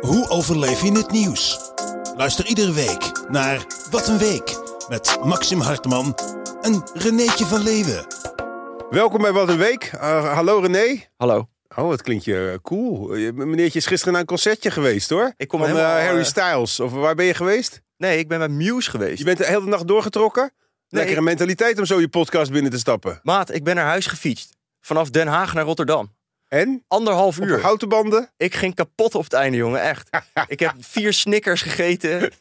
Hoe overleef je het nieuws? Luister iedere week naar Wat een Week met Maxim Hartman en Renéetje van Leeuwen. Welkom bij Wat een Week. Eh, hallo René. Hallo. Oh, wat klinkt je eh, cool. Je- Meneertje is gisteren naar een concertje geweest hoor. Ik kom Van eh, helemaal, Harry eh, Styles. Of waar ben je geweest? Nee, ik ben bij Muse geweest. Je bent de hele nacht doorgetrokken? Lekkere ik- mentaliteit om zo je podcast binnen te stappen. Maat, ik ben naar huis gefietst. Vanaf Den Haag naar Rotterdam. En? Anderhalf Op uur. houten banden? Ik ging kapot op het einde, jongen. Echt. ik heb vier Snickers gegeten.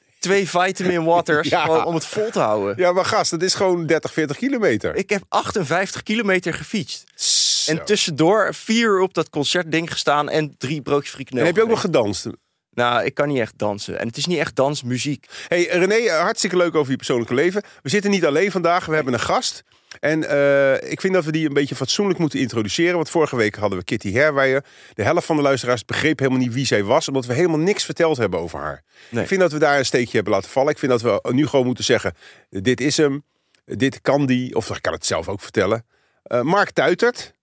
Twee vitamin waters. Ja. gewoon om het vol te houden. Ja, maar gast, dat is gewoon 30, 40 kilometer. Ik heb 58 kilometer gefietst. Zo. En tussendoor vier uur op dat concertding gestaan. En drie broodjes En frikandel. heb je ook nog gegeten. gedanst? Nou, ik kan niet echt dansen. En het is niet echt dansmuziek. Hey René, eh, hartstikke leuk over je persoonlijke leven. We zitten niet alleen vandaag, we hebben een gast. En eh, ik vind dat we die een beetje fatsoenlijk moeten introduceren. Want vorige week hadden we Kitty Herwijer. De helft van de luisteraars begreep helemaal niet wie zij was. Omdat we helemaal niks verteld hebben over haar. Nee. Ik vind dat we daar een steekje hebben laten vallen. Ik vind dat we nu gewoon moeten zeggen, dit is hem. Dit kan die. Of ik kan het zelf ook vertellen. Eh, Mark Tuitert.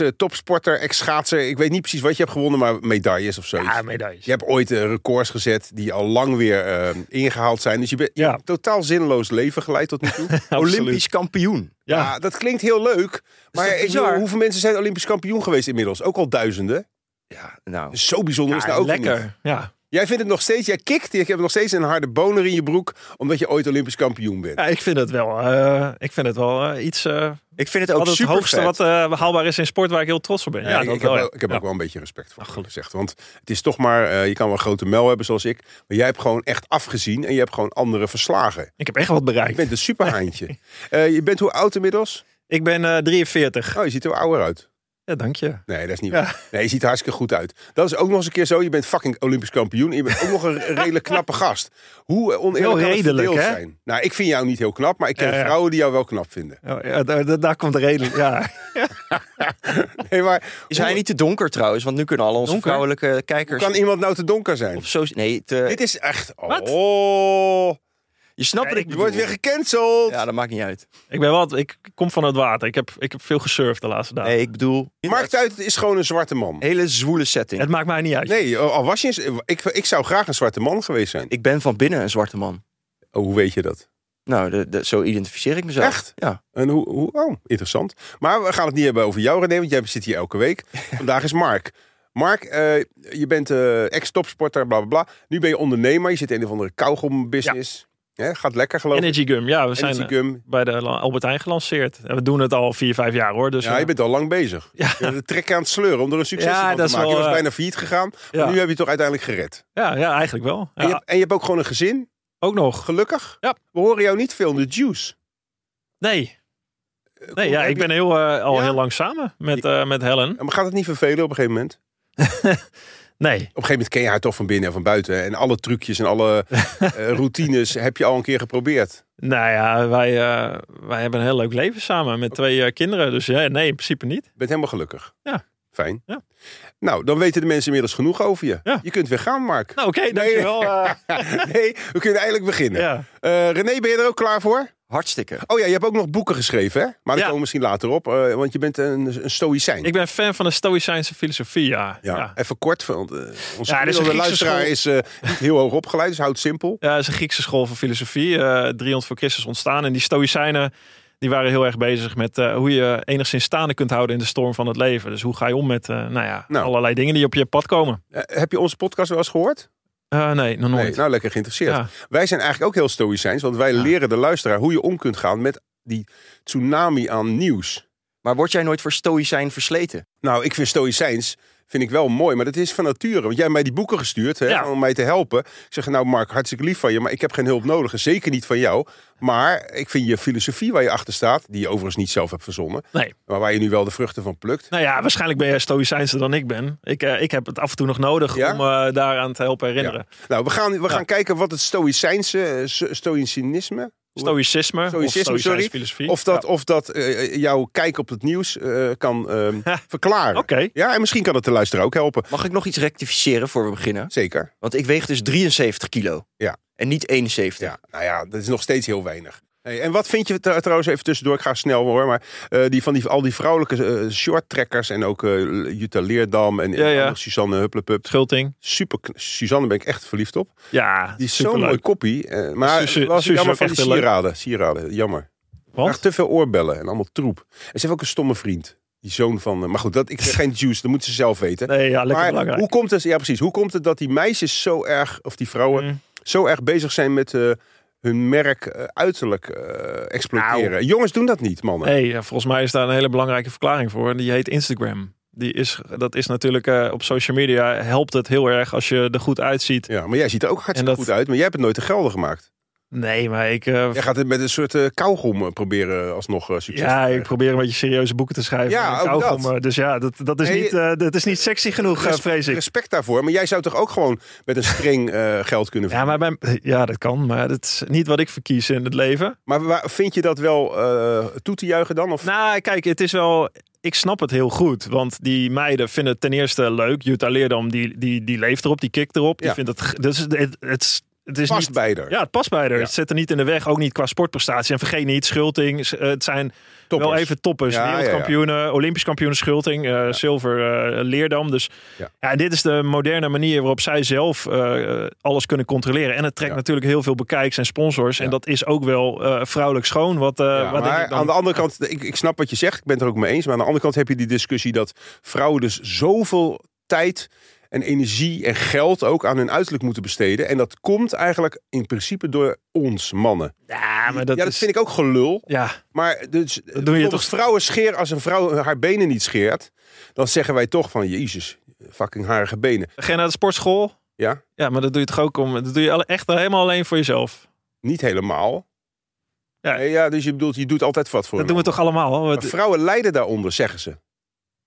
Ex-topsporter, ex-schaatser. Ik weet niet precies wat je hebt gewonnen, maar medailles of zoiets. Ja, medailles. Je hebt ooit eh, records gezet die al lang weer eh, ingehaald zijn. Dus je bent je Ja. hebt een totaal zinloos leven geleid tot nu toe. Absoluut. Olympisch kampioen. Ja. Ja, dat klinkt heel leuk. Maar toch ik bizar? bedoel, hoeveel mensen zijn Olympisch kampioen geweest inmiddels? Ook al duizenden. Ja, nou. Dus zo bijzonder is dat ook weer niet. lekker. Ja. Jij vindt het nog steeds, jij kikt, je hebt nog steeds een harde boner in je broek. Omdat je ooit Olympisch kampioen bent. ja, ik vind het wel, eh, ik vind het wel eh, iets. eh, Ik vind het ook wat het super hoogste wat eh, haalbaar is in sport waar ik heel trots op ben. Ja, ik, dat ik heb, wel. ja. wel- ik heb Ja. ook wel een beetje respect voor je gezegd. Want het is toch maar, eh, je kan wel een grote mel hebben zoals ik. Maar jij hebt gewoon echt afgezien en je hebt gewoon anderen verslagen. Ik heb echt wat Je bereikt. bent een superhaantje. Eh, je bent hoe oud inmiddels? Ik ben eh, 43. Oh, je ziet er wel ouder uit. Ja, dank je. Nee, dat is niet Ja. waar. Nee, je ziet er hartstikke goed uit. Dat is ook nog eens een keer zo. Je bent fucking Olympisch kampioen. En je bent ook nog een redelijk knappe gast. Hoe oneerlijk Wel kan het redelijk, verdeeld hè? zijn? Nou, ik vind jou niet heel knap, maar ik ken Ja, ja. vrouwen die jou wel knap vinden. Oh, ja, daar, daar- daar komt de reden. Ja. Nee, maar Is hoe- hij niet te donker trouwens? Want nu kunnen al onze Donker? vrouwelijke hoe kijkers kan iemand nou te donker zijn? op zo. Nee, te- Dit is echt... Wat? Oh, je snapt wat Nee, ik je bedoel. wordt weer gecanceld. Ja, dat maakt niet uit. Ik ben wat. Ik kom van het water. Ik heb, ik heb veel gesurfd de laatste dagen. Nee, ik bedoel. Mark Tuit is gewoon een zwarte man. hele zwoele setting. Het maakt mij niet uit. Nee, al was je... een- Ik, ik zou graag een zwarte man geweest zijn. Ik ben van binnen een zwarte man. Oh, hoe weet je dat? Nou, de, de- zo identificeer ik mezelf. Echt? Ja. En hoe, hoe, oh, interessant. Maar we gaan het niet hebben over jou, René, want jij zit hier elke week. Vandaag is Mark. Mark, eh, je bent eh, ex-topsporter, bla bla bla. Nu ben je ondernemer. Je zit in een of andere kauwgombusiness. Hè, gaat lekker, geloof ik. Energy Gum. Ja, we zijn Energy eh, gum. bij de La- Albert Heijn gelanceerd. En we doen het al vier, vijf jaar hoor. Dus, Ja, eh, je bent al lang bezig. Ja. Je hebt de trek aan het sleuren om er een succes Ja, van te dat is maken. je wel, was eh, bijna failliet gegaan, ja. maar nu heb je het toch uiteindelijk gered. ja, ja, eigenlijk wel. En, je Ja, hebt, en je hebt ook gewoon een gezin, ook nog. gelukkig. Ja. We horen jou niet veel in de juice. Nee, Eh, nee ja, heb ik je- ben heel, eh, al Ja? heel lang samen met, eh, met Helen. Maar gaat het niet vervelen op een gegeven moment? Nee, op een gegeven moment ken je haar toch van binnen en van buiten. hè? En alle trucjes en alle eh, routines heb je al een keer geprobeerd. Nou ja, wij, eh, wij hebben een heel leuk leven samen met twee eh, kinderen. Dus ja, nee, in principe niet. Je bent helemaal gelukkig. Ja. Fijn. Ja. Nou, dan weten de mensen inmiddels genoeg over je. Ja. Je kunt weer gaan, Mark. Nou oké, dankjewel. eh, nee, we kunnen eigenlijk beginnen. ja. Eh, René, ben je er ook klaar voor? Hartstikke. Oh ja, je hebt ook nog boeken geschreven, hè? Maar daar Ja. komen we misschien later op, eh, want je bent een, een stoïcijn. Ik ben fan van de Stoïcijnse filosofie, ja. ja. Ja. even kort, want eh, onze Ja, dit is gemiddelde een Griekse luisteraar school. is eh, niet heel hoog opgeleid, dus houd het simpel. Ja, het is een Griekse school van filosofie, eh 300 voor Christus ontstaan. En die Stoïcijnen die waren heel erg bezig met eh, hoe je enigszins staande kunt houden in de storm van het leven. Dus hoe ga je om met eh, nou ja, Nou. allerlei dingen die op je pad komen? Eh, heb je onze podcast wel eens gehoord? Eh, nee, nog nooit. Nee, nou lekker geïnteresseerd. Ja. Wij zijn eigenlijk ook heel stoïcijns, want wij leren de luisteraar hoe je om kunt gaan met die tsunami aan nieuws. Maar word jij nooit voor stoïcijn versleten? Nou, ik vind stoïcijns vind ik wel mooi, maar dat is van nature. Want jij hebt mij die boeken gestuurd hè, Ja. om mij te helpen. Ik zeg, nou Mark, hartstikke lief van je, maar ik heb geen hulp nodig. En zeker niet van jou. Maar ik vind je filosofie waar je achter staat, die je overigens niet zelf hebt verzonnen, Nee. maar waar je nu wel de vruchten van plukt. Nou ja, waarschijnlijk ben jij stoïcijnser dan ik ben. Ik, eh, ik heb het af en toe nog nodig Ja? om eh, daaraan te helpen herinneren. Nou, we gaan, we gaan kijken wat het stoïcijnse, eh, s- stoïcijnisme, Stoïcisme, Stoïcisme, of stoïcijnse sorry. filosofie. of dat, Ja. of dat eh, jouw kijk op het nieuws eh, kan ehm, verklaren. Oké. Ja, en misschien kan het de luisteraar ook helpen. Mag ik nog iets rectificeren voor we beginnen? Zeker. Want ik weeg dus 73 kilo. Ja. En niet 71. Ja, nou ja, dat is nog steeds heel weinig. Hey, en wat vind je tr- trouwens, even tussendoor, ik ga snel hoor, maar eh, die van die, al die vrouwelijke eh shorttrekkers en ook eh, Jutta Leerdam en, en Ja, ja. andere Suzanne Hupplepup. Schulting. Super, kn- Suzanne ben ik echt verliefd op. Ja, Die is zo'n superleuk. mooi koppie, eh, maar Suze- was Suze is jammer ook van die echt heel leuk. sieraden, sieraden, jammer. Want? Draagt te veel oorbellen en allemaal troep. En ze heeft ook een stomme vriend, die zoon van, eh, maar goed, dat, ik zeg geen juice, dat moeten ze zelf weten. Nee, ja, lekker Maar belangrijk. hoe komt het, ja precies, hoe komt het dat die meisjes zo erg, of die vrouwen, Mm. zo erg bezig zijn met eh, hun merk eh, uiterlijk eh, exploiteren? Nou. Jongens doen dat niet, mannen. Nee, ja, volgens mij is daar een hele belangrijke verklaring voor. En die heet Instagram. Die is, dat is natuurlijk eh, op social media helpt het heel erg als je er goed uitziet. Ja, maar jij ziet er ook hartstikke En dat- goed uit, maar jij hebt het nooit te gelden gemaakt. Nee, maar ik, eh, Jij gaat het met een soort eh kauwgom eh, proberen alsnog eh, succes te ja, ik krijgen. probeer een beetje serieuze boeken te schrijven. Ja, En ook kauwgom, dat. eh, Dus ja, dat, dat, is Nee, niet, eh, dat is niet sexy genoeg, eh, Res- vrees ik. Respect daarvoor, maar jij zou toch ook gewoon met een string eh, geld kunnen Ja, verdienen? maar bij, ja, dat kan. Maar dat is niet wat ik verkies in het leven. maar... waar- vind je dat wel eh, toe te juichen dan? Of... Nou, kijk, het is wel. Ik snap het heel goed. Want die meiden vinden het ten eerste leuk. Jutta Leerdam, die, die, die leeft erop, die kikt erop. Die Ja. vindt het. g- Dus het, het, is- het is past niet, bij haar. Ja, het past bij haar. Ja. Het zit er niet in de weg. Ook niet qua sportprestatie. En vergeet niet, Schulting. s- eh, Het zijn Toppers. wel even toppers. Ja, ja, ja. Wereldkampioenen, Olympisch kampioen Schulting, eh, zilver eh, Leerdam. Dus Ja. ja. dit is de moderne manier waarop zij zelf eh, eh, alles kunnen controleren. En het trekt Ja. natuurlijk heel veel bekijks en sponsors. Ja. En dat is ook wel eh, vrouwelijk schoon. Wat, eh, Ja, wat denk maar ik dan- aan de andere kant, ik, ik snap wat je zegt, ik ben het er ook mee eens. Maar aan de andere kant heb je die discussie dat vrouwen dus zoveel tijd en energie en geld ook aan hun uiterlijk moeten besteden. En dat komt eigenlijk in principe door ons mannen. ja, maar dat, ja, dat is- vind ik ook gelul. Ja, Maar dus, dat doe je toch- vrouwen scheer, als een vrouw haar benen niet scheert, dan zeggen wij toch van Jezus, fucking harige benen. ga je naar de sportschool? Ja. Ja, maar dat doe je toch ook om... Dat doe je alle- echt helemaal alleen voor jezelf. Niet helemaal. Ja. Ja, ja dus je bedoelt, je doet altijd wat voor Dat een doen we toch allemaal? hoor? ander. Wat- Maar Vrouwen lijden daaronder, zeggen ze.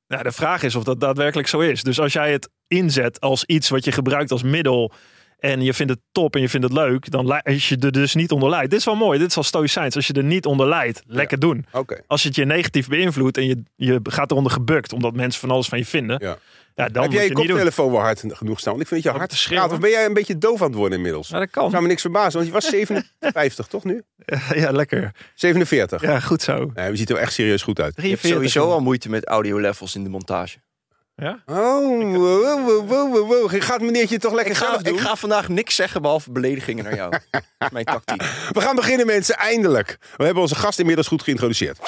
Ja, de vraag is of dat daadwerkelijk zo is. Dus als jij het inzet als iets wat je gebruikt als middel. en je vindt het top en je vindt het leuk. dan li- als je er dus niet onder lijdt. Dit is wel mooi, dit is al stoïcijns. Als je er niet onder lijdt, lekker doen. Oké. Als het je negatief beïnvloedt en je, je gaat eronder gebukt. omdat mensen van alles van je vinden. Ja. ja dan Heb jij moet je je het niet doen. koptelefoon wel hard genoeg staan? Want ik vind dat je Om hard te schreeuwen? gaat. Of ben jij een beetje doof aan het worden inmiddels? Ja, dat zou kan. me niks verbazen, want je was 57, toch nu? Ja, lekker. 47. Ja, goed zo. Nee, we ziet er echt serieus goed uit. Je hebt 43. sowieso al moeite met audio levels in de montage. Oh, wow, wow, wow, wow, wow. Gaat meneertje toch lekker Ik ga, zelf doen? ik ga vandaag niks zeggen behalve beledigingen naar jou. Dat is mijn tactiek. We gaan beginnen, mensen, eindelijk. We hebben onze gast inmiddels goed geïntroduceerd.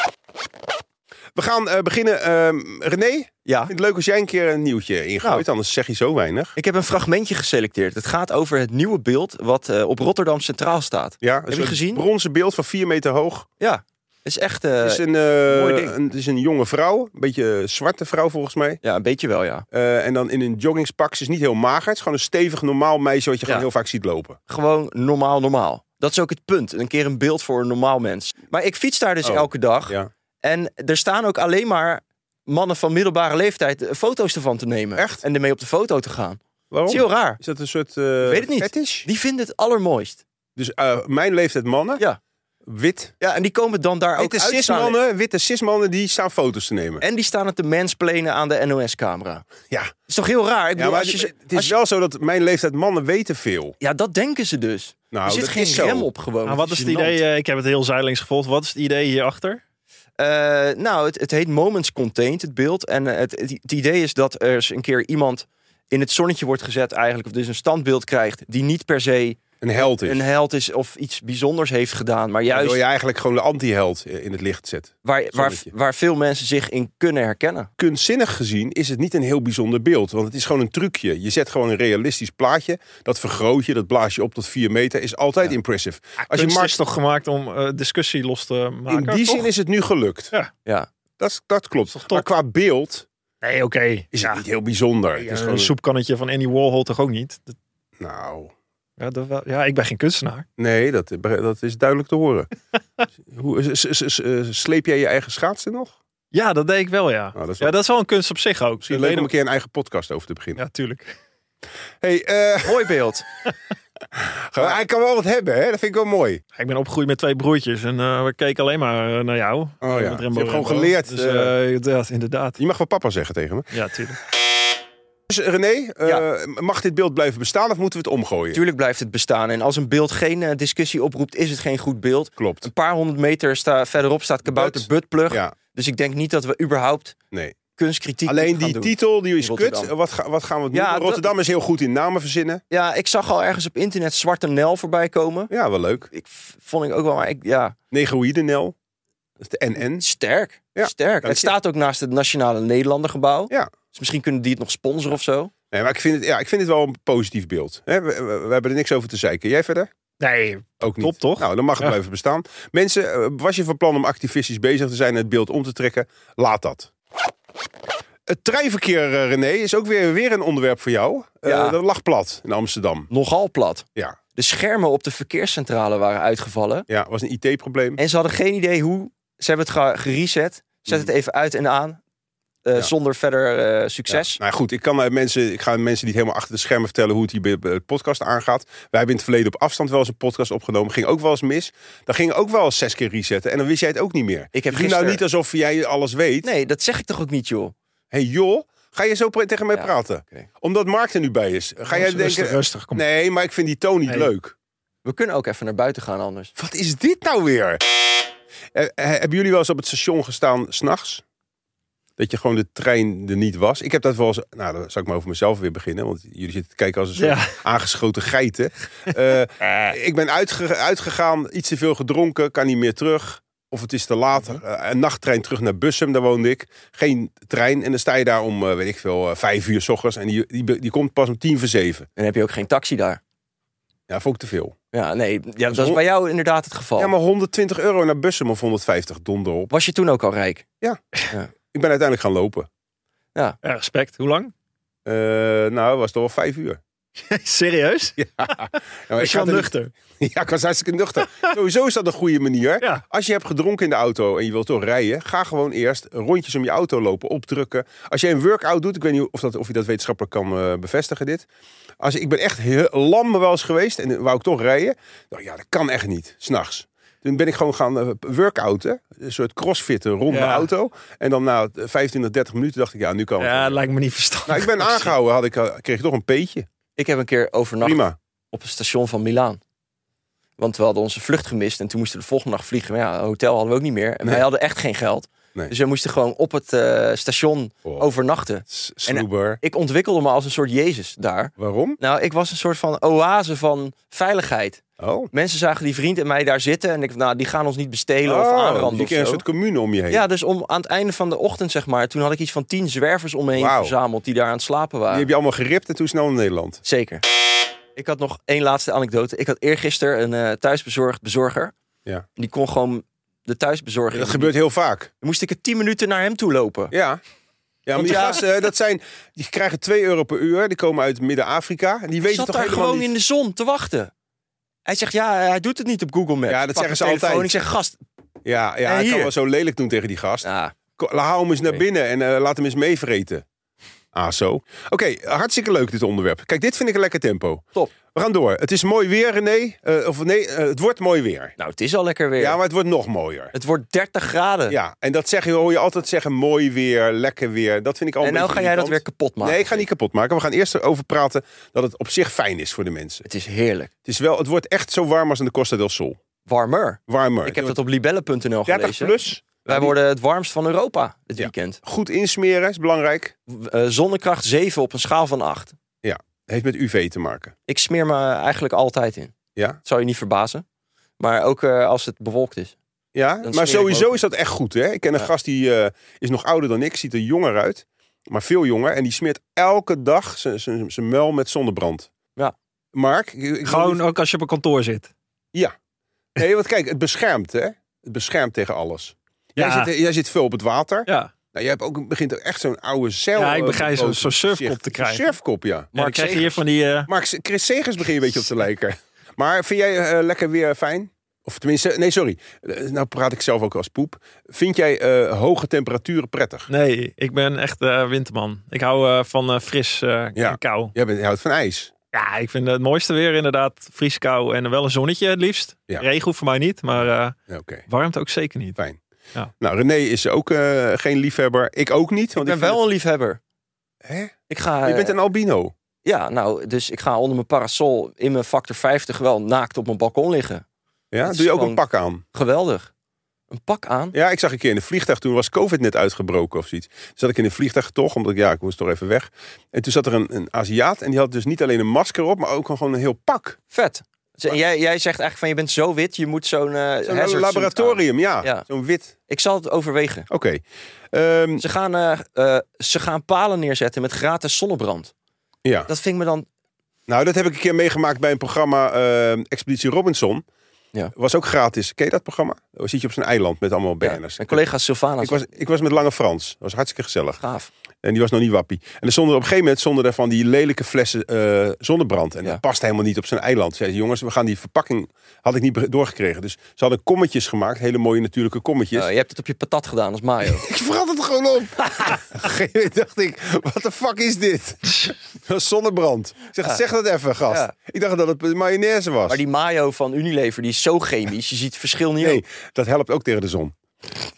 We gaan eh, beginnen. Ehm, René, ik Ja, vind het leuk als jij een keer een nieuwtje ingooit, Nou. anders zeg je zo weinig. ik heb een fragmentje geselecteerd. Het gaat over het nieuwe beeld wat eh, op Rotterdam Centraal staat. Ja, je een soort gezien? bronzen beeld van 4 meter hoog. Ja, het is echt eh, Het is een, eh, mooi ding. een- het is een jonge vrouw, een beetje zwarte vrouw volgens mij. ja, een beetje wel, ja. Eh, en dan in een joggingspak. Ze is niet heel mager. Het is gewoon een stevig, normaal meisje wat je gewoon Ja. heel vaak ziet lopen. Gewoon normaal, normaal. Dat is ook het punt. Een keer een beeld voor een normaal mens. Maar ik fiets daar dus Oh, elke dag. ja. En er staan ook alleen maar mannen van middelbare leeftijd eh, foto's ervan te nemen. Echt? Oh. En ermee op de foto te gaan. Waarom? Dat is heel raar. Is dat een soort eh Ik weet het niet. fetish? Die vinden het allermooist. Dus eh, mijn leeftijd mannen. Ja. Wit. Ja, en die komen dan daar ook Witte uit. cis-mannen, witte cis-mannen die staan foto's te nemen. En die staan het te mansplainen aan de NOS-camera. Dat Ja, is toch heel raar? Ik ja bedoel, maar als je, het- ze- het is als je- wel zo dat mijn leeftijd mannen weten veel. ja, dat denken ze dus. Nou, er zit dat geen is zo. rem op gewoon. Maar wat is het gênant. idee? eh, ik heb het heel zijdelings gevolgd. Wat is het idee hierachter? Eh, nou, het, het heet Moments Contained, het beeld. En eh, het, het, het idee is dat er eens een keer iemand in het zonnetje wordt gezet eigenlijk. Of dus een standbeeld krijgt die niet per se Een held is. een held is of iets bijzonders heeft gedaan. Maar juist Waardoor je eigenlijk gewoon de anti-held eh, in het licht zet. waar, waar, zonnetje. waar veel mensen zich in kunnen herkennen. kunstzinnig gezien is het niet een heel bijzonder beeld. Want het is gewoon een trucje. Je zet gewoon een realistisch plaatje. Dat vergroot je, dat blaas je op tot 4 meter. Is altijd impressive. Als je Kunst Mark, is toch gemaakt om eh, discussie los te in Ah, maken? die toch? zin is het nu gelukt. Ja. Ja. Dat, is- dat klopt. toch top? maar qua beeld Nee, oké. is Ja. het niet heel bijzonder. het is Ja, gewoon een soepkannetje van Andy Warhol toch ook niet? Dat- Nou, ja, dat wel- ja, ik ben geen kunstenaar. nee, dat, dat is duidelijk te horen. Hoe, s- s- s- eh, sleep jij je eigen schaatsen nog? Ja, dat deed ik wel, ja. Nou, dat is wel Ja, dat is wel een kunst op zich ook. misschien Die leuk om een leden- keer een eigen podcast over te beginnen. Ja, tuurlijk. Hey, eh, Mooi beeld. hij kan wel wat hebben, hè? Dat vind ik wel mooi. Ja, Ik ben opgegroeid met twee broertjes en eh, we keken alleen maar eh, naar jou. Oh, ja. Met Je hebt gewoon geleerd, Dus, eh, ja, inderdaad. Je mag wel papa zeggen tegen me. Ja, tuurlijk. Dus René, eh, Ja. mag dit beeld blijven bestaan of moeten we het omgooien? Natuurlijk blijft het bestaan. En als een beeld geen eh, discussie oproept, is het geen goed beeld. Klopt. Een paar honderd meter sta, verderop staat Kabouter But- Buttplug. Ja, Dus ik denk niet dat we überhaupt nee. kunstkritiek Alleen moeten gaan die doen. titel die is kut. Rotterdam. Eh, Wat, ga- wat gaan we doen? Ja, dat- Rotterdam is heel goed in namen verzinnen. Ja, ik zag al ergens op internet Zwarte Nel voorbij komen. Ja, wel leuk. Ik v- vond ik ook wel, maar ik, ja, Negroïdenel. Dat is de NN. sterk. Ja, sterk. dank Het je. staat ook naast het Nationale Nederlandergebouw. Ja. Dus misschien kunnen die het nog sponsoren of zo. Nee, maar ik vind, het, ja, ik vind het wel een positief beeld. Hè, we, we- we hebben er niks over te zeiken. Jij verder? Nee, Ook niet. Top, toch? Nou, dan mag het Ja. blijven bestaan. Mensen, eh, was je van plan om activistisch bezig te zijn en het beeld om te trekken? Laat dat. Het treinverkeer, eh, René, is ook weer, weer een onderwerp voor jou. Eh, Ja. dat lag plat in Amsterdam. Nogal plat. Ja, De schermen op de verkeerscentrale waren uitgevallen. ja was een IT-probleem. En ze hadden geen idee hoe. Ze hebben het ge- gereset. Zet het even uit en aan. eh, Ja. Zonder verder eh, Ja. succes. Nou goed, ik, kan, eh, mensen, ik ga mensen niet helemaal achter de schermen vertellen hoe het hier bij bij de podcast aangaat. Wij hebben in het verleden op afstand wel eens een podcast opgenomen. Ging ook wel eens mis. Dan ging ook wel eens zes keer resetten. En dan wist jij het ook niet meer. Ik heb Doe nou gisteren- niet alsof jij alles weet. Nee, dat zeg ik toch ook niet, joh. hey, joh, ga je zo pre- tegen mij Ja, praten? oké. Omdat Mark er nu bij is. Ga jij rustig, denken... Oh, rustig, kom. nee, maar ik vind die toon niet Nee. leuk. We kunnen ook even naar buiten gaan anders. Wat is dit nou weer? Eh, eh, hebben jullie wel eens op het station gestaan s'nachts? Dat je gewoon de trein er niet was. Ik heb dat wel eens... Nou, dan zal ik maar over mezelf weer beginnen. Want jullie zitten te kijken als een soort Ja. aangeschoten geiten. Eh, ik ben uitge- uitgegaan, iets te veel gedronken, kan niet meer terug. Of het is te laat. Eh, een nachttrein terug naar Bussum, daar woonde ik. Geen trein. En dan sta je daar om, eh, weet ik veel, eh, vijf uur s ochtends. En die, die, be- die komt pas om tien voor zeven. Dan heb je ook geen taxi daar. Ja, vond ik te veel. Ja, nee. Ja, dat hon- is bij jou inderdaad het geval. Ja, maar 120 euro naar Bussum of 150, donder op. Was je toen ook al rijk? Ik ben uiteindelijk gaan lopen. Ja, respect. Hoe lang? Eh, nou, het was toch wel vijf uur. Serieus? Ja, maar Is je wel had er niet- nuchter? Ja, ik was hartstikke nuchter. Sowieso is dat een goede manier. Ja. Als je hebt gedronken in de auto en je wilt toch rijden, ga gewoon eerst rondjes om je auto lopen, opdrukken. Als jij een workout doet, ik weet niet of, dat, of je dat wetenschappelijk kan eh, bevestigen dit. Als, ik ben echt heel lam wel eens geweest en wou ik toch rijden. Nou ja, dat kan echt niet, s'nachts. Toen ben ik gewoon gaan eh, workouten, een soort crossfitten rond Ja. mijn auto. En dan na 25, 30 minuten dacht ik, ja, nu kan het. Ja, dat lijkt me niet verstandig. Nou, ik ben aangehouden, had ik, eh, kreeg ik toch een peetje. Ik heb een keer overnacht Prima. op het station van Milaan. Want we hadden onze vlucht gemist en toen moesten we de volgende dag vliegen. Maar ja, een hotel hadden we ook niet meer. En wij hadden echt geen geld. Nee. Dus we moesten gewoon op het eh, station Oh. overnachten. S- Sloeber. Ik ontwikkelde me als een soort Jezus daar. Waarom? Nou, ik was een soort van oase van veiligheid. Oh. Mensen zagen die vriend en mij daar zitten. En ik, nou, die gaan ons niet bestelen of Oh, aanranden je of kreeg een zo. soort commune om je heen. Ja, dus om, aan het einde van de ochtend, zeg maar, toen had ik iets van tien zwervers om me heen Wauw. verzameld die daar aan het slapen Die waren. heb je allemaal geript en toen snel naar Nederland. Zeker. Ik had nog één laatste anekdote. Ik had eergisteren een eh, thuisbezorgd bezorger. Ja. En die kon gewoon de thuisbezorging. dat gebeurt heel vaak. Dan moest ik er tien minuten naar hem toe lopen. Ja. Ja, maar die ja- gasten, dat zijn, die krijgen 2 euro per uur. Die komen uit Midden-Afrika. En die Ik weten zat toch daar helemaal gewoon niet... in de zon te wachten. Hij zegt, ja, hij doet het niet op Google Maps. Ja, dat Ik pak zeggen ze mijn telefoon. altijd. Ik zeg, gast, Ja, ja En hij kan hier? wel zo lelijk doen tegen die gast. ja, Ko- Hou hem eens naar Oké. binnen en eh, laat hem eens meevreten. Ah, zo. Oké, hartstikke leuk dit onderwerp. Kijk, dit vind ik een lekker tempo. Top. We gaan door. Het is mooi weer, René. Eh, of nee, eh, het wordt mooi weer. nou, het is al lekker weer. Ja, maar het wordt nog mooier. Het wordt 30 graden. Ja, en dat zeg je, hoor je altijd zeggen, mooi weer, lekker weer. Dat vind ik al en een nou beetje ga jij dat weer irritant. kapot maken. Nee, ik ga niet kapot maken. We gaan eerst erover praten dat het op zich fijn is voor de mensen. Het is heerlijk. Het, is wel, het wordt echt zo warm als in de Costa del Sol. Warmer. Warmer. Ik heb dat op 30 libelle.nl gelezen. plus. Wij Nou, die- worden het warmst van Europa dit Ja. weekend. Goed insmeren is belangrijk. Eh, zonnekracht 7 op een schaal van 8. Heeft met UV te maken. Ik smeer me eigenlijk altijd in. Ja? Dat zou je niet verbazen. Maar ook eh, als het bewolkt is. Ja, Dan maar smeer ik me sowieso ook. is dat echt goed. Hè? Ik ken een Ja. gast die eh, is nog ouder dan ik, ziet er jonger uit. Maar veel jonger. En die smeert elke dag zijn- zijn zijn muil met zonnebrand. Ja. Mark? ik- ik- Gewoon ook als je op een kantoor zit. Nee, want kijk, het beschermt hè. Het beschermt tegen alles. Jij, Ja, zit, jij zit veel op het water. ja. Nou, jij hebt ook, begint ook echt zo'n oude zeil. ja ik eh, begrijp zo'n boven zo'n het surfkop gezicht. te krijgen. Surfkop, ja. Maar Mark ik krijg je hier Segers. van die... eh, Maar Chris Segers begin je een beetje op te lijken. Maar vind jij eh, lekker weer fijn? Of tenminste, nee, sorry. Eh, nou praat ik zelf ook als poep. Vind jij eh, hoge temperaturen prettig? Nee, ik ben echt eh, winterman. Ik hou eh, van eh, fris eh Ja. en kou. Jij bent, je houdt van ijs. Ja, ik vind het mooiste weer inderdaad fris kou en wel een zonnetje het liefst. Ja. Regen hoeft voor mij niet, maar eh, Ja, Oké, warmte ook zeker niet. fijn. Ja. Nou, René is ook eh, geen liefhebber. Ik ook niet. Ik Want ben vind wel een liefhebber. Hè? Ik ga, Je eh, bent een albino. Ja, nou, dus ik ga onder mijn parasol in mijn factor 50 wel naakt op mijn balkon liggen. Ja? het Doe je is ook een gewoon- pak aan? Geweldig. Een pak aan? Ja, ik zag een keer in een vliegtuig, toen was COVID net uitgebroken of zoiets. Toen zat ik in een vliegtuig toch, omdat ik, ja, ik moest toch even weg. En toen zat er een, een Aziat en die had dus niet alleen een masker op, maar ook gewoon een heel pak. Vet. Dus en jij, jij zegt eigenlijk van je bent zo wit, je moet zo'n eh, hazard Zo'n suit aan. laboratorium, ja. Ja. Zo'n wit. Ik zal het overwegen. Oké. Ehm, Ze gaan, eh, eh, ze gaan palen neerzetten met gratis zonnebrand. ja. Dat vind ik me dan... Nou, dat heb ik een keer meegemaakt bij een programma ehm, Expeditie Robinson. Ja. Was ook gratis. Ken je dat programma? Dan zit je op zo'n eiland met allemaal Ja, banners. mijn collega Sylvana ik was, ik was met Lange Frans. Dat was hartstikke gezellig. gaaf. En die was nog niet wappie. En er stonden op een gegeven moment stonden er van die lelijke flessen eh, zonnebrand. En Ja. dat past helemaal niet op zijn eiland. Zeiden ze, jongens, we gaan die verpakking... Had ik niet be- doorgekregen. Dus ze hadden kommetjes gemaakt. Hele mooie natuurlijke kommetjes. Eh, je hebt het op je patat gedaan als mayo. Ik veranderde het gewoon op. Op een gegeven moment dacht ik, wat de fuck is dit? Dat was zonnebrand. Ik zeg, zeg dat even, gast. Ja. Ik dacht dat het mayonaise was. maar die mayo van Unilever, die is zo chemisch. Je ziet het verschil niet Nee, op. dat helpt ook tegen de zon.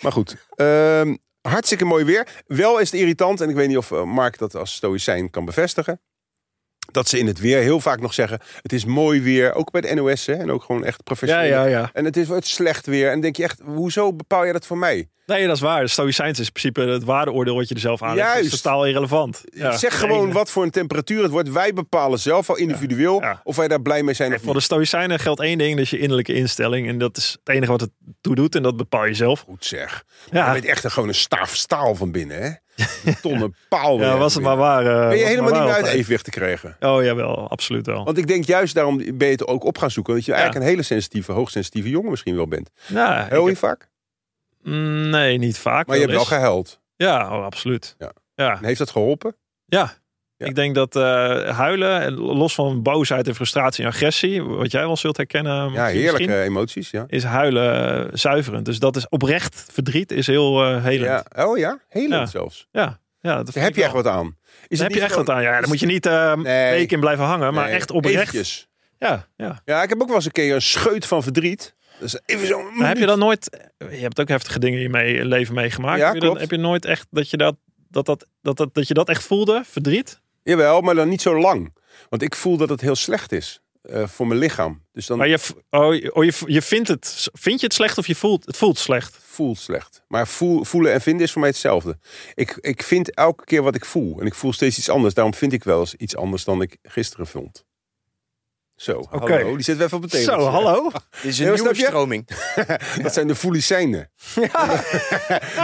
Maar goed, ehm, hartstikke mooi weer. Wel is het irritant, en ik weet niet of eh, Mark dat als stoïcijn kan bevestigen. Dat ze in het weer heel vaak nog zeggen: Het is mooi weer. Ook bij de NOS hè, en ook gewoon echt Ja, professioneel. ja, ja. En het is wordt slecht weer. En dan denk je echt: Hoezo bepaal jij dat voor mij? Nee, dat is waar. De Stoïcijns is in principe het waardeoordeel wat je er zelf aan Dat is Juist. totaal irrelevant. Ja. zeg Nee, gewoon wat voor een temperatuur het wordt. Wij bepalen zelf al individueel Ja, ja. of wij daar blij mee zijn. Of Voor niet. de Stoïcijnen geldt één ding, dat is je innerlijke instelling. En dat is het enige wat het toe doet en dat bepaal je zelf. Goed zeg. Ja. Je bent echt een- gewoon een staaf staal van binnen, hè? Een tonnen paal. Ja, weer was het maar van waar. eh, was binnen. het Oh, Ben je helemaal niet maar meer waar uit altijd. evenwicht te krijgen? Oh jawel, absoluut wel. Want ik denk juist daarom ben je het ook op gaan zoeken. Dat je eigenlijk een hele sensitieve, hoogsensitieve jongen misschien wel bent. Ja, Nou, ik Heel je heb- vaak? Mm, nee, niet vaak. Maar je hebt wel eens. gehuild. Ja, oh, absoluut. Ja. ja. En heeft dat geholpen? Ja. Ja. Ik denk dat eh, huilen, en los van boosheid en frustratie en agressie, wat jij wel zult herkennen, Ja, misschien, heerlijke emoties. Ja. is huilen eh, zuiverend. Dus dat is oprecht verdriet is heel eh helend. ja. Oh ja, helend Ja. zelfs. Ja, ja. dat Daar heb je echt wat aan. Is Is heb je echt wat aan? Ja, daar is- moet je niet eh Nee. week in blijven hangen, maar echt oprecht. Eventjes. Ja, ja. Ja, ik heb ook wel eens een keer een scheut van verdriet. Dus even zo'n... Maar heb je minuut. dan nooit, je hebt ook heftige dingen in je mee- leven meegemaakt. Ja, heb, je dan, klopt. heb je nooit echt dat je dat, dat, dat, dat, dat, dat je dat echt voelde, verdriet? Jawel, maar dan niet zo lang. Want ik voel dat het heel slecht is eh, voor mijn lichaam. Dus dan Maar je, v- oh, je- oh, je, v- je vindt het, vind je het slecht of je voelt, het voelt slecht? voel slecht. Maar voel, voelen en vinden is voor mij hetzelfde. Ik, ik vind elke keer wat ik voel. En ik voel steeds iets anders. Daarom vind ik wel eens iets anders dan ik gisteren vond. Zo, hallo. Oh, Die zitten we even op het Zo, tegeltje. hallo. Dit is een Nee, maar nieuwe snap je? stroming. Dat zijn de voelicijnen.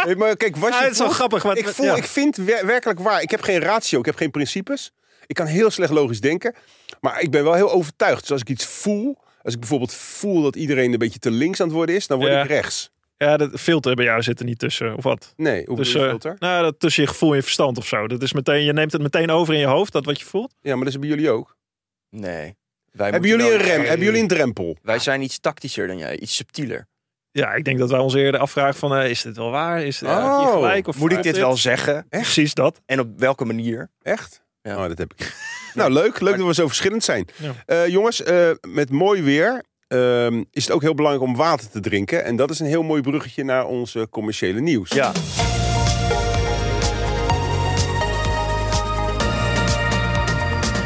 Nee, maar kijk, wat Ja, je het is wel voelt- grappig. Wat, ik, voel, ja. ik vind wer- werkelijk waar. Ik heb geen ratio, ik heb geen principes. Ik kan heel slecht logisch denken. Maar ik ben wel heel overtuigd. Dus als ik iets voel... Als ik bijvoorbeeld voel dat iedereen een beetje te links aan het worden is... dan word Ja. ik rechts. ja, dat filter bij jou zit er niet tussen, of wat? Nee, hoe Dus, bedoel je eh, filter? nou, dat tussen je gevoel en je verstand of zo. Dat is meteen, je neemt het meteen over in je hoofd, dat wat je voelt. Ja, maar dat is bij jullie ook. Nee. Wij Hebben moeten jullie een wel- rem? Hebben jullie een drempel? Wij zijn iets tactischer dan jij, iets subtieler. Ja, ik denk dat wij ons eerder afvragen van, eh, is dit wel waar? Is dit heb je Oh, gelijk? Of Moet ik klopt dit wel zeggen? Precies dat. En op welke manier? Echt? Ja. Oh, dat heb ik. niet. nou, leuk. Leuk dat we zo verschillend zijn. Ja. Eh, jongens, eh, met mooi weer ehm, is het ook heel belangrijk om water te drinken. En dat is een heel mooi bruggetje naar ons eh, commerciële nieuws. Ja.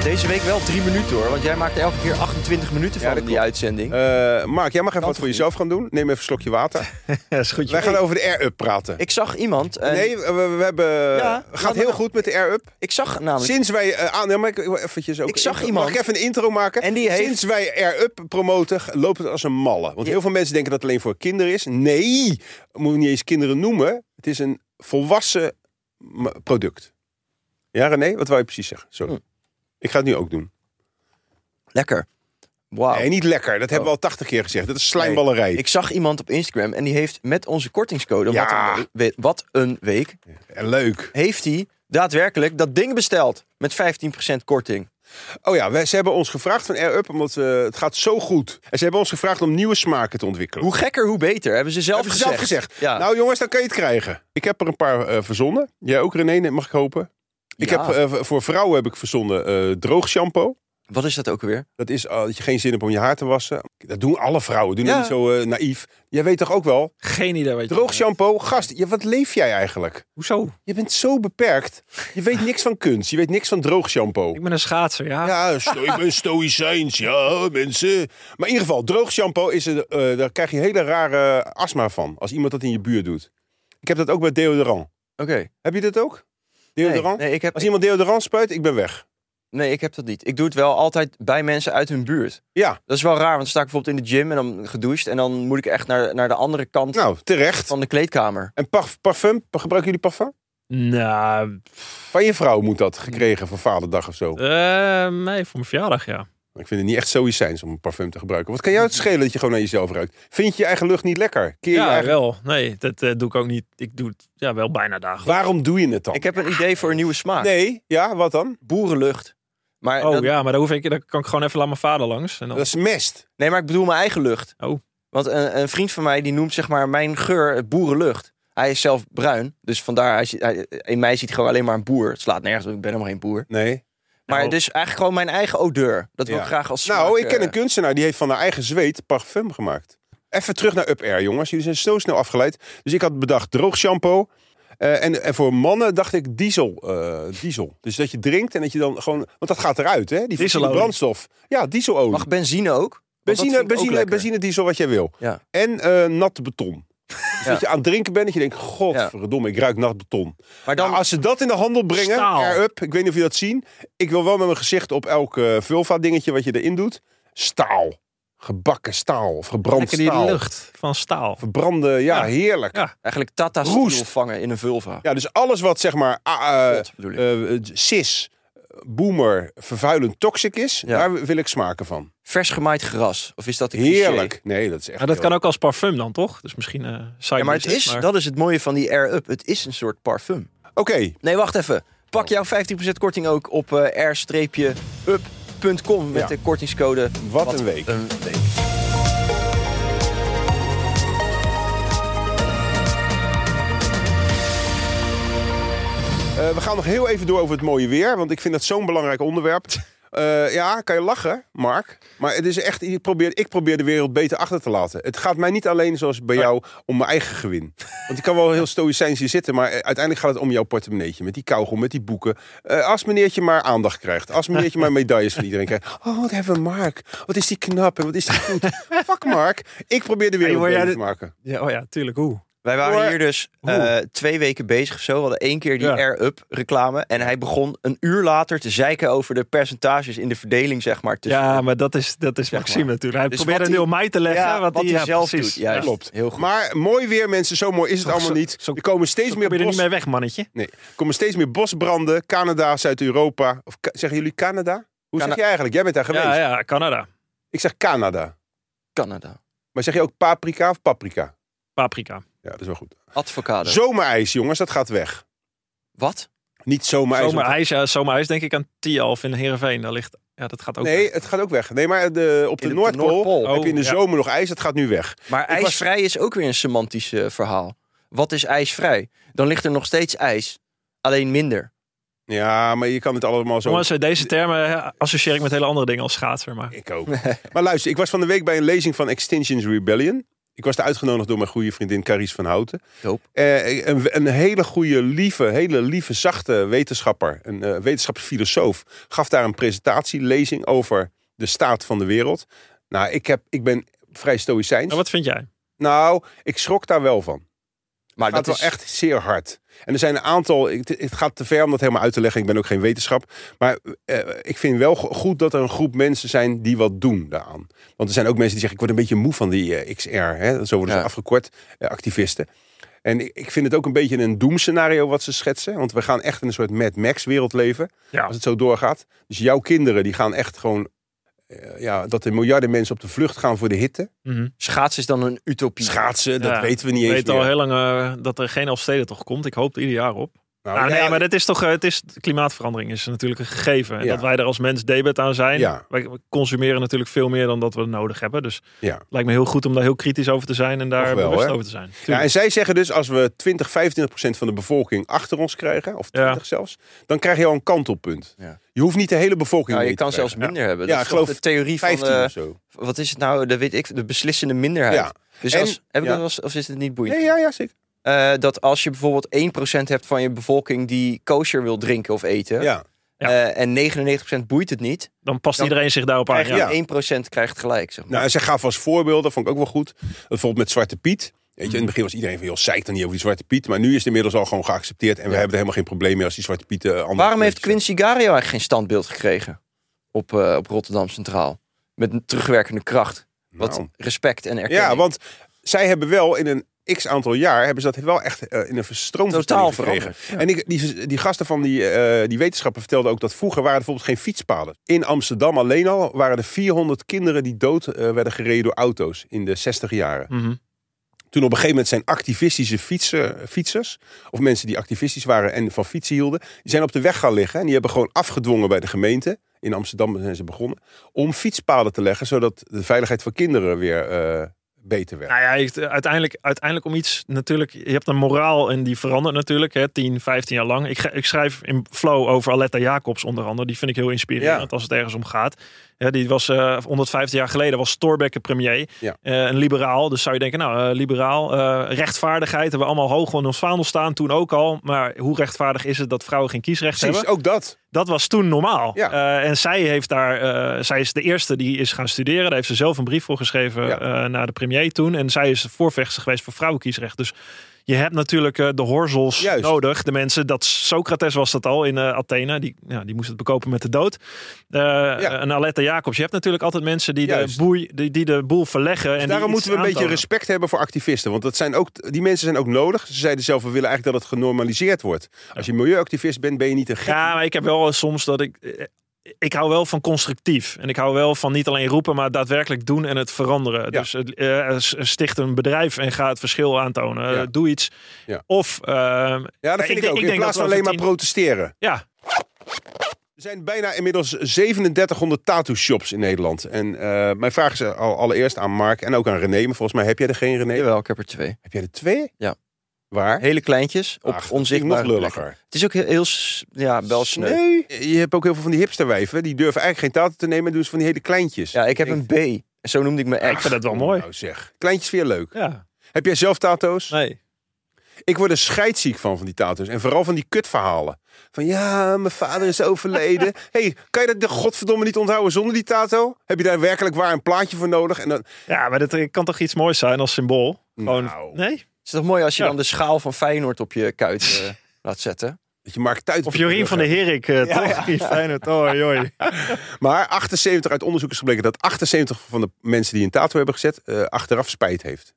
Deze week wel drie minuten hoor, want jij maakt er elke keer 28 minuten Ja, van dat die klopt. uitzending. Eh, Mark, jij mag even Kan wat voor toch jezelf gaan doen. Neem even een slokje water. Ja, is goed. Wij joh. gaan over de Air Up praten. ik zag iemand, en Nee, we, we hebben. Ja, gaat laat heel maar. goed met de Air Up. ik zag namelijk, Sinds wij. eh aan, nee, maar ik, ik wil eventjes ook Ik zag intro- iemand. Mag ik even een intro maken? En die heeft- Sinds wij Air Up promoten, g- loopt het als een malle. Want Ja. heel veel mensen denken dat het alleen voor kinderen is. Nee, moet je niet eens kinderen noemen. Het is een volwassen m- product. Ja, René, wat wou je precies zeggen? Sorry. Hm. Ik ga het nu ook doen. lekker, wauw. Nee, niet lekker. Dat hebben we al tachtig keer gezegd. Dat is slijmballerij. Oh. Ik zag iemand op Instagram en die heeft met onze kortingscode, Ja. wat, een week, wat een week, En Leuk. heeft hij daadwerkelijk dat ding besteld. Met 15% korting. Oh ja, wij, ze hebben ons gevraagd van Air Up, omdat eh, het gaat zo goed. En ze hebben ons gevraagd om nieuwe smaken te ontwikkelen. Hoe gekker, hoe beter, hebben ze zelf Hebben ze gezegd. zelf gezegd. Ja. Nou jongens, dan kan je het krijgen. Ik heb er een paar eh, verzonnen. Jij ook René, nee, mag ik hopen? Ik Ja. heb, eh, voor vrouwen heb ik verzonnen eh, droog shampoo. Wat is dat ook weer? Dat is eh, dat je geen zin hebt om je haar te wassen. Dat doen alle vrouwen. Doen Ja. niet zo eh, naïef. Jij weet toch ook wel? Geen idee. Weet je Droog shampoo. Gast, ja, wat leef jij eigenlijk? Hoezo? Je bent zo beperkt. Je weet niks van kunst. Je weet niks van droog shampoo. Ik ben een schaatser, ja. Ja, sto- ik ben stoïcijns, ja, mensen. Maar in ieder geval, droog shampoo, is er, eh, daar krijg je hele rare eh, astma van. Als iemand dat in je buurt doet. Ik heb dat ook bij deodorant. Oké. Heb je dat ook? Nee, Deodorant? nee, ik heb, Als iemand deodorant spuit, ik ben weg. nee, ik heb dat niet. Ik doe het wel altijd bij mensen uit hun buurt. Ja, Dat is wel raar, want dan sta ik bijvoorbeeld in de gym en dan gedoucht. En dan moet ik echt naar, naar de andere kant nou, terecht. van de kleedkamer. En parf- parfum, Pa- gebruiken jullie parfum? Nou, Van je vrouw moet dat gekregen voor vaderdag of zo. eh, nee, voor mijn verjaardag, ja. Ik vind het niet echt stoïcijns om een parfum te gebruiken. Wat kan jou het schelen dat je gewoon naar jezelf ruikt? Vind je je eigen lucht niet lekker? Keer je Ja, eigen- wel. Nee, dat eh, doe ik ook niet. Ik doe het ja, wel bijna dagen. Waarom doe je het dan? Ik heb een idee voor een nieuwe smaak. Nee, ja, wat dan? Boerenlucht. Maar Oh dat- ja, maar dan, hoef ik, dan kan ik gewoon even laat mijn vader langs. En dan, Dat is mest. Nee, maar ik bedoel mijn eigen lucht. Oh. Want een, een vriend van mij die noemt zeg maar mijn geur het boerenlucht. Hij is zelf bruin, dus vandaar hij, ziet- hij- in mij ziet hij gewoon alleen maar een boer. Het slaat nergens op, ik ben helemaal geen boer. Nee. Maar Nou. dus eigenlijk gewoon mijn eigen odeur. Dat wil Ja. ik graag als smaak, Nou, ik ken eh, een kunstenaar die heeft van haar eigen zweet parfum gemaakt. Even terug naar Up Air, jongens. Jullie zijn zo snel afgeleid. Dus ik had bedacht droog shampoo. Eh, en, en voor mannen dacht ik diesel, eh, diesel. Dus dat je drinkt en dat je dan gewoon... Want dat gaat eruit, hè? Die fossiele Dieselolie. brandstof. Ja, dieselolie. Mag benzine ook? Want dat vind benzine, ik ook benzine, lekker. benzine, diesel, wat jij wil. Ja. En eh nat beton. Dus Ja. dat je aan het drinken bent dat je denkt... Godverdomme, ik ruik nat beton. Maar dan, Nou, als ze dat in de handel brengen, Staal. air up. Ik weet niet of je dat zien. Ik wil wel met mijn gezicht op elk eh, vulva dingetje wat je erin doet. Staal. Gebakken staal of gebrand lekker die staal. lucht van staal. Verbrande, ja, Ja. heerlijk. Ja. Ja. eigenlijk Tata steel Roest. vangen in een vulva. dus alles wat zeg maar ah, eh, Pot, bedoel ik. eh, eh, cis, boomer, vervuilend, toxic is, Ja. daar wil ik smaken van. Vers gemaaid gras. Of is dat een cliché? Heerlijk. Nee, dat is echt. Maar dat heel- kan ook als parfum dan, toch? Dus misschien eh side Ja, maar het is, business, maar- dat is het mooie van die Air Up. Het is een soort parfum. Oké, Nee, wacht even. Pak Oh. jouw 15% korting ook op eh, air-up.com met Ja. de kortingscode wat, een week. Eh, we gaan nog heel even door over het mooie weer, want ik vind dat zo'n belangrijk onderwerp. Eh, ja, kan je lachen, Mark. Maar het is echt, ik probeer, ik probeer de wereld beter achter te laten. Het gaat mij niet alleen, zoals bij jou, om mijn eigen gewin. Want ik kan wel heel stoïcijns hier zitten, maar eh, uiteindelijk gaat het om jouw portemonneetje. Met die kauwgom, met die boeken. Eh, als meneertje maar aandacht krijgt. Als meneertje maar medailles van iedereen krijgt. Oh, wat hebben we Mark. Wat is die knap en wat is die goed. Fuck Mark. Ik probeer de wereld Hey, maar jij beter te dit- maken. Ja, oh ja, tuurlijk. Hoe? Wij waren Hoor. hier dus eh, Oeh. twee weken bezig of zo. We hadden één keer die Ja. Air Up reclame. En hij begon een uur later te zeiken over de percentages in de verdeling, zeg maar. Tussen Ja, maar dat is, dat is Zeg Maxime maar. natuurlijk. Hij Dus probeert wat een deel hij- mij te leggen. Ja, wat, hij ja, zelf precies. doet. Juist. Ja. Klopt. Heel goed. Maar mooi weer, mensen. Zo mooi is het Zo- allemaal zo- niet. zo- er komen steeds Kom je meer er niet bos... mee weg, mannetje? Nee, er komen steeds meer bosbranden. Canada, Zuid-Europa. Of Ka- zeggen jullie Canada? Hoe Cana- zeg je eigenlijk? Jij bent daar geweest. Ja, ja, Canada. Ik zeg Canada. Canada. Maar zeg je ook paprika of paprika? Paprika. Ja, dat is wel goed. Advocado. Zomerijs, jongens, dat gaat weg. Wat? Niet zomerijs. Zomerijs, ja, zomerijs denk ik aan Tialf in Heerenveen. Daar ligt, ja, dat gaat ook Nee, het gaat ook weg. Nee, maar de, op de, In de- de Noordpool, Noordpool. heb je in de Oh, ja. zomer nog ijs. Dat gaat nu weg. Maar was- ijsvrij is ook weer een semantisch eh, verhaal. Wat is ijsvrij? Dan ligt er nog steeds ijs. Alleen minder. Ja, maar je kan het allemaal zo... Jongens, eh, deze termen eh, associeer ik met hele andere dingen als schaatser. Maar Ik ook. maar luister, ik was van de week bij een lezing van Extinction Rebellion. Ik was daar uitgenodigd door mijn goede vriendin Caries van Houten. Doop. Eh, een, een hele goede, lieve, hele lieve, zachte wetenschapper, een eh wetenschapsfilosoof, gaf daar een presentatielezing over de staat van de wereld. Nou, ik, heb, ik ben vrij stoïcijns. Nou, wat vind jij? Nou, ik schrok daar wel van. Maar Het dat gaat is wel echt zeer hard. En er zijn een aantal. Het, het gaat te ver om dat helemaal uit te leggen. Ik ben ook geen wetenschap. Maar eh, ik vind wel go- goed dat er een groep mensen zijn die wat doen daaraan. Want er zijn ook mensen die zeggen: ik word een beetje moe van die eh, XR. Hè? Zo worden Ja. ze afgekort, eh, activisten. En ik, ik vind het ook een beetje een doemscenario wat ze schetsen. Want we gaan echt in een soort Mad Max wereld leven. Ja. Als het zo doorgaat. Dus jouw kinderen die gaan echt gewoon. eh, ja, dat er miljarden mensen op de vlucht gaan voor de hitte. schaats is dan een utopie. Schaatsen, dat Ja. weten we niet Ik eens weet al meer. heel lang eh, dat er geen Elfsteden toch komt. Ik hoop er ieder jaar op. Nou, Nou, ja, nee, maar dit is toch, eh, het is, klimaatverandering is natuurlijk een gegeven. En Ja. dat wij er als mens debet aan zijn. Ja. Wij consumeren natuurlijk veel meer dan dat we nodig hebben. Dus ja. het lijkt me heel goed om daar heel kritisch over te zijn en daar Toch wel, bewust hè? over te zijn. Ja, Tuurlijk. en zij zeggen dus, als we 20, 25 procent van de bevolking achter ons krijgen, of 20 Ja. zelfs, dan krijg je al een kantelpunt. Ja. Je hoeft niet de hele bevolking Nou, je mee te kan zelfs krijgen. minder hebben. Ja, Dat is ik toch geloof de theorie van 15 eh, of zo. wat is het nou? De, weet ik, de beslissende minderheid. Ja. Dus En- als, heb ik ja. dat wel eens- of is het niet boeiend? Nee, ja, ja, zeker. Eh, dat als je bijvoorbeeld 1% hebt van je bevolking die kosher wil drinken of eten. Ja. Ja. eh, en 99% boeit het niet. Dan past dan iedereen zich daarop aan. Krijg Ja. je 1% krijgt gelijk. Zeg maar. Nou, en zij gaf als voorbeelden, vond ik ook wel goed. Bijvoorbeeld met Zwarte Piet. Weet je, in het begin was iedereen van, joh, zeik dan niet over die Zwarte Piet. Maar nu is het inmiddels al gewoon geaccepteerd. En we hebben er helemaal geen probleem mee als die Zwarte Piet... eh, andere Waarom heeft kleurtjes Quincy Gario eigenlijk geen standbeeld gekregen op, eh, op Rotterdam Centraal? Met een terugwerkende kracht. Wat Nou. respect en erkenning. Ja, want zij hebben wel in een x aantal jaar hebben ze dat wel echt eh, in een verstroomd Totaal gekregen. En ik, die, die gasten van die, eh, die wetenschappen vertelden ook dat vroeger waren er bijvoorbeeld geen fietspaden. In Amsterdam alleen al waren er 400 kinderen die dood eh, werden gereden door auto's in de 60 jaren. Mhm. Toen op een gegeven moment zijn activistische fietsen, fietsers, of mensen die activistisch waren en van fietsen hielden, die zijn op de weg gaan liggen en die hebben gewoon afgedwongen bij de gemeente. In Amsterdam zijn ze begonnen om fietspaden te leggen, zodat de veiligheid van kinderen weer eh, beter werd. Nou ja, je- uiteindelijk, uiteindelijk om iets natuurlijk. Je hebt een moraal en die verandert natuurlijk. Hè, 10, 15 jaar lang. Ik, ge- ik schrijf in Flow over Aletta Jacobs onder andere. Die vind ik heel inspirerend Ja. als het ergens om gaat. Ja, die was eh 150 jaar geleden was Thorbecke premier. Ja. Eh, een liberaal. Dus zou je denken, nou, eh, liberaal. eh, rechtvaardigheid hebben we allemaal hoog in ons vaandel staan. Toen ook al. Maar hoe rechtvaardig is het dat vrouwen geen kiesrecht Precies, hebben? ook dat. dat was toen normaal. Ja. Eh, en zij heeft daar, eh, zij is de eerste die is gaan studeren. Daar heeft ze zelf een brief voor geschreven Ja. eh, naar de premier toen. En zij is voorvechter geweest voor vrouwenkiesrecht. Dus je hebt natuurlijk eh, de horzels Juist. nodig. De mensen, dat Socrates was dat al in eh, Athene. Die, ja, die moest het bekopen met de dood. Eh En Aletta Jacobs. Je hebt natuurlijk altijd mensen die, de, Juist. Dus boei, die, die de boel verleggen. en die Daarom iets moeten we een beetje aantonen. respect hebben voor activisten. Want dat zijn ook, die mensen zijn ook nodig. Ze zeiden zelf, we willen eigenlijk dat het genormaliseerd wordt. Als je milieuactivist bent, ben je niet een gek. Ja, maar ik heb wel soms dat ik. eh, Ik hou wel van constructief. En ik hou wel van niet alleen roepen, maar daadwerkelijk doen en het veranderen. Dus eh, eh, s- sticht een bedrijf en ga het verschil aantonen. Ja. Eh, Doe iets. Ja. Of, eh, Ja, dat ik vind ik, denk- ook. ik In denk plaats van dat we alleen maar over tien- protesteren. ja, Er zijn bijna inmiddels 3700 tattoo shops in Nederland. En eh, mijn vraag is al, allereerst aan Mark en ook aan René. Maar volgens mij heb jij er geen René. Jawel, ik heb er twee. Heb jij er twee? Ja. Waar? Hele kleintjes op Ach, dat vind ik onzichtbare Nog plekken. lulliger. Het is ook heel, heel s- ja, wel sneu. Nee. Je hebt ook heel veel van die hipsterwijven. Die durven eigenlijk geen tattoo te nemen. En doen ze van die hele kleintjes. Ja, ik heb een B. Zo noemde ik mijn ik ex. vind dat wel mooi. Nou zeg. Kleintjes vind je leuk. Ja. Heb jij zelf tattoos? Nee. Ik word er scheidziek van, van die tattoos. En vooral van die kutverhalen. Van ja, mijn vader is overleden. hey, kan je dat de godverdomme niet onthouden zonder die tato? Heb je daar werkelijk waar een plaatje voor nodig? En dan, ja, maar dat eh, kan toch iets moois zijn als symbool? Gewoon, Nou. Nee? Het is toch mooi als je Ja. dan de schaal van Feyenoord op je kuit eh, laat zetten. dat je Mark Tuit Of Jorien van der Herik, eh, toch? Die Feyenoord, oei, oei. Maar 78, uit onderzoek is gebleken dat 78 van de mensen die een tato hebben gezet... eh, achteraf spijt heeft.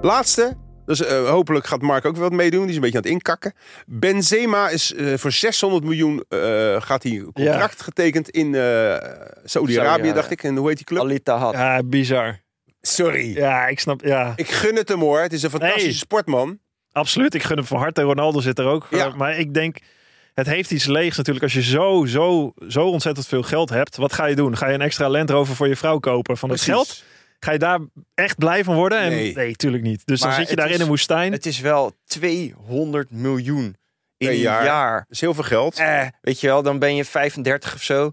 Laatste. Dus eh, hopelijk gaat Mark ook wel wat meedoen. Die is een beetje aan het inkakken. Benzema is eh, voor 600 miljoen eh, gaat hij een contract getekend in eh Saudi-Arabië, Saudi-Arabië. dacht ik. En hoe heet die club? Alita had. Ja, bizar. Sorry. Ja, ik snap, ja. Ik gun het hem hoor. Het is een fantastische Nee. sportman. Absoluut, ik gun hem van harte. Ronaldo zit er ook. Ja. Eh, maar ik denk, het heeft iets leegs natuurlijk. Als je zo, zo, zo ontzettend veel geld hebt, wat ga je doen? Ga je een extra Land Rover voor je vrouw kopen van Precies. het geld? Ga je daar echt blij van worden? En, Nee. tuurlijk niet. Dus Maar dan zit je het daar is- in een woestijn. Het is wel 200 miljoen in Per een jaar. jaar. Dat is heel veel geld. Eh, weet je wel, dan ben je 35 of zo.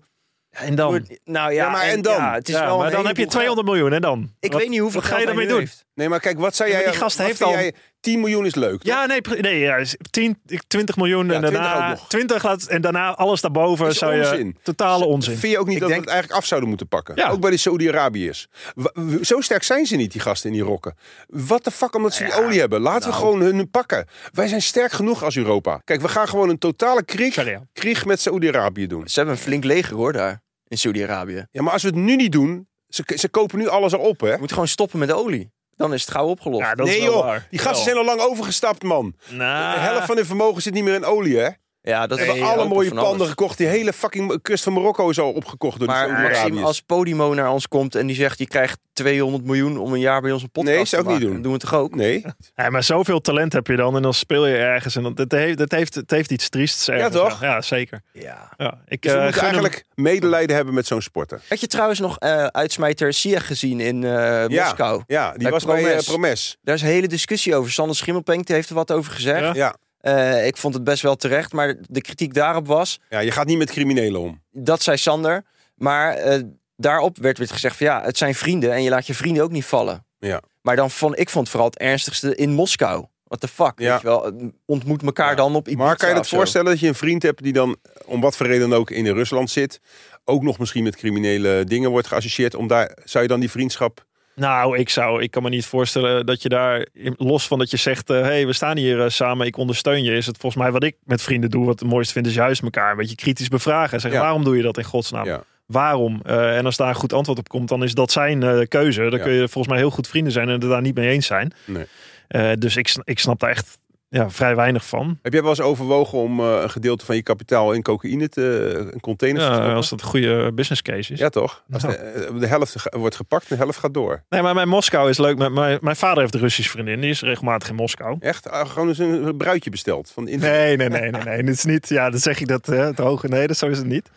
en dan? Ja, Nou ja, Ja, maar en dan? ja, het is wel maar een dan heb je heleboel 200 miljoen en dan? geld. Ik Wat- weet niet hoeveel wat ga je geld hij daarmee doen? nu heeft. Nee, maar kijk, wat zei Ja, jij? maar die gast wat heeft vind al- jij- 10 miljoen is leuk. toch? Ja, nee, pre- nee ja, is 10, 20 miljoen en 20 daarna ook nog. 20 laat, en daarna alles daarboven Is zou je onzin. totale onzin. Vind je ook niet Ik dat we denk- het eigenlijk af zouden moeten pakken? Ja. Ook bij de Saudi-Arabiërs. W- w- Zo sterk zijn ze niet, die gasten in die rokken. Wat de fuck omdat ze die olie hebben? Laten nou. we gewoon hun pakken. Wij zijn sterk genoeg als Europa. Kijk, we gaan gewoon een totale krieg, Sorry, ja. krieg met Saudi-Arabië doen. Ze hebben een flink leger hoor daar in Saudi-Arabië. Ja, maar als we het nu niet doen... Ze, ze kopen nu alles al op, hè? Je moet gewoon stoppen met de olie. Dan is het gauw opgelost. Ja, Ja, dat is nee wel joh, waar. die gasten Wel. zijn al lang overgestapt, man. Nou, De helft van hun vermogen zit niet meer in olie, hè? Ja, dat We hebben alle open mooie van alles. panden gekocht. Die hele fucking kust van Marokko is al opgekocht door Maar de Maxime, eh, Saoedi-Arabiërs. als Podimo naar ons komt en die zegt... je krijgt 200 miljoen om een jaar bij ons een podcast Nee, zou te ik niet maken, doen. Dan doen we het toch ook? Nee, Dus Ja, maar zoveel talent heb je dan en dan speel je ergens. En dat, dat, heeft, dat, heeft, het heeft iets triests. ergens, toch? Ja, Ja, zeker. Ja. Ja, ik, dus we eh, moeten gun hem- eigenlijk medelijden hebben met zo'n sporter. Had je trouwens nog eh uitsmijter Sieg gezien in eh, Ja. Moskou? Ja, die Bij was bij eh, Promes. Promes. Daar is een hele discussie over. Sander Schimmelpenk die heeft er wat over gezegd. Ja. Ja. Eh, ik vond het best wel terecht, maar de kritiek daarop was... ja, je gaat niet met criminelen om. dat zei Sander. Maar eh, daarop werd weer gezegd van ja, het zijn vrienden en je laat je vrienden ook niet vallen. Ja. Maar dan vond ik vond het vooral het ernstigste in Moskou. What the fuck, Ja. weet je wel. Ontmoet elkaar Ja. dan op Ibiza Maar kan je of dat zo. voorstellen dat je een vriend hebt die dan eh, om wat voor reden dan ook in Rusland zit, ook nog misschien met criminele dingen wordt geassocieerd? Om daar zou je dan die vriendschap? Nou, ik zou, ik kan me niet voorstellen dat je daar, los van dat je zegt, eh, hey, we staan hier eh, samen, ik ondersteun je, is het volgens mij wat ik met vrienden doe, wat het mooiste vind, is juist elkaar een beetje kritisch bevragen. En zeggen, Ja. waarom doe je dat in godsnaam? Ja. Waarom? Eh, en als daar een goed antwoord op komt, dan is dat zijn eh, keuze. Dan Ja. kun je volgens mij heel goed vrienden zijn en het daar niet mee eens zijn. Nee. Eh, dus ik, sn- ik snap daar echt ja, vrij weinig van. Heb jij wel eens overwogen om eh, een gedeelte van je kapitaal in cocaïne te eh, in containers te Ja, stoppen? als dat een goede business case is. Ja, toch? Als de, eh, de helft ge- wordt gepakt, de helft gaat door. Nee, maar mijn Moskou is leuk. Mijn, mijn, mijn vader heeft een Russische vriendin, die is regelmatig in Moskou. Echt? Ah, gewoon eens een bruidje besteld. Van in... Nee, nee, nee, nee, nee. Dit is niet. Ja, dan zeg ik dat hè, het hoge. Nee, dat zo is het niet.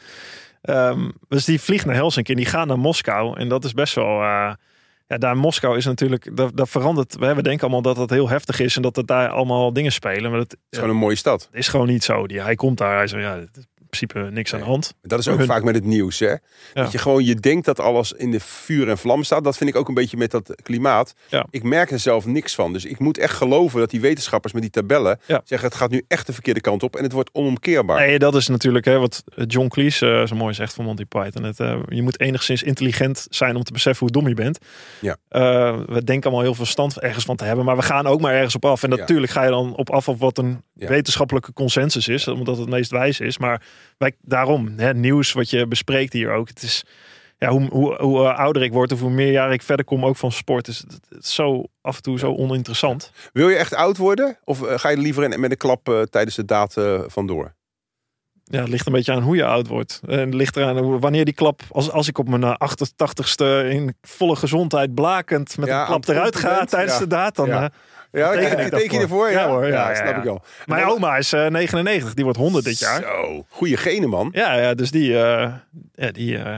Ehm, dus die vliegt naar Helsinki en die gaat naar Moskou. En dat is best wel. eh, ja, daar in Moskou is natuurlijk. Dat, dat verandert. We hebben denken allemaal dat dat heel heftig is en dat het daar allemaal dingen spelen. Maar dat Het is gewoon een mooie stad. is gewoon niet zo. Die, hij komt daar. Hij zegt, ja, dit is in principe niks aan de hand. Dat is ook Hun- vaak met het nieuws, hè? Dat je gewoon, je denkt dat alles in de vuur en vlam staat. Dat vind ik ook een beetje met dat klimaat. Ja. Ik merk er zelf niks van. Dus ik moet echt geloven dat die wetenschappers met die tabellen Ja. zeggen... het gaat nu echt de verkeerde kant op en het wordt onomkeerbaar. Nee, dat is natuurlijk hè, wat John Cleese eh, zo mooi zegt van Monty Python. Het, eh, je moet enigszins intelligent zijn om te beseffen hoe dom je bent. Ja. Eh, we denken allemaal heel veel stand ergens van te hebben, maar we gaan ook maar ergens op af. En Ja. natuurlijk ga je dan op af op wat een Ja. wetenschappelijke consensus is, omdat het meest wijs is. Maar wij, daarom, hè, nieuws wat je bespreekt hier ook, het is... Ja, hoe hoe, hoe eh, ouder ik word of hoe meer jaar ik verder kom, ook van sport, is het, het is zo af en toe zo oninteressant. Wil je echt oud worden? Of eh, ga je er liever in, met een klap eh, tijdens de daad eh, vandoor? Ja, het ligt een beetje aan hoe je oud wordt. En het ligt eraan hoe- wanneer die klap, als, als ik op mijn eh, 88ste in volle gezondheid blakend met Ja, een aan klap het eruit pompen ga bent, tijdens ja. de daad, dan... Ja. eh, Ja, teken ik ik teken je daarvoor. ervoor? Ja, Ja, hoor, ja, ja, snap ja. ik al. mijn oma is eh, 99, die wordt 100 dit jaar. Zo, goede genen, man. Ja, ja, dus die, eh, ja, die, eh,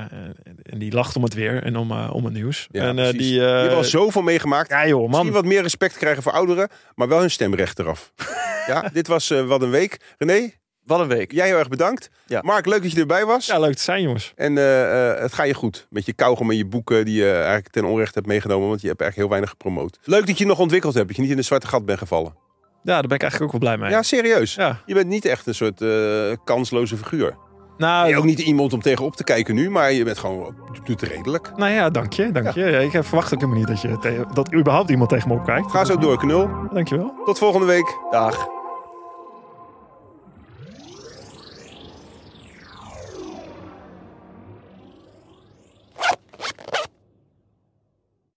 en die lacht om het weer en om, eh, om het nieuws. Ja, en eh, precies. die... je eh, hebt al zoveel meegemaakt. ja joh, man. Misschien wat meer respect krijgen voor ouderen, maar wel hun stemrecht eraf. ja, dit was eh, Wat een Week. René, Wat een week. jij heel erg bedankt. Ja. Mark, leuk dat je erbij was. Ja, leuk te zijn, jongens. En eh, eh, het gaat je goed met je kauwgom en je boeken die je eigenlijk ten onrechte hebt meegenomen, want je hebt eigenlijk heel weinig gepromoot. Leuk dat je nog ontwikkeld hebt, dat je niet in een zwarte gat bent gevallen. Ja, daar ben ik eigenlijk ook wel blij mee. Ja, serieus. Ja. Je bent niet echt een soort eh, kansloze figuur. Nou, En ook niet iemand om tegenop te kijken nu, maar je bent gewoon, doet het redelijk. nou ja, dank je, dank je. Ja, ik eh, verwacht ook helemaal niet dat, je tegen- dat überhaupt iemand tegen me opkijkt. Ga zo door, knul. Dankjewel. Tot volgende week. Dag.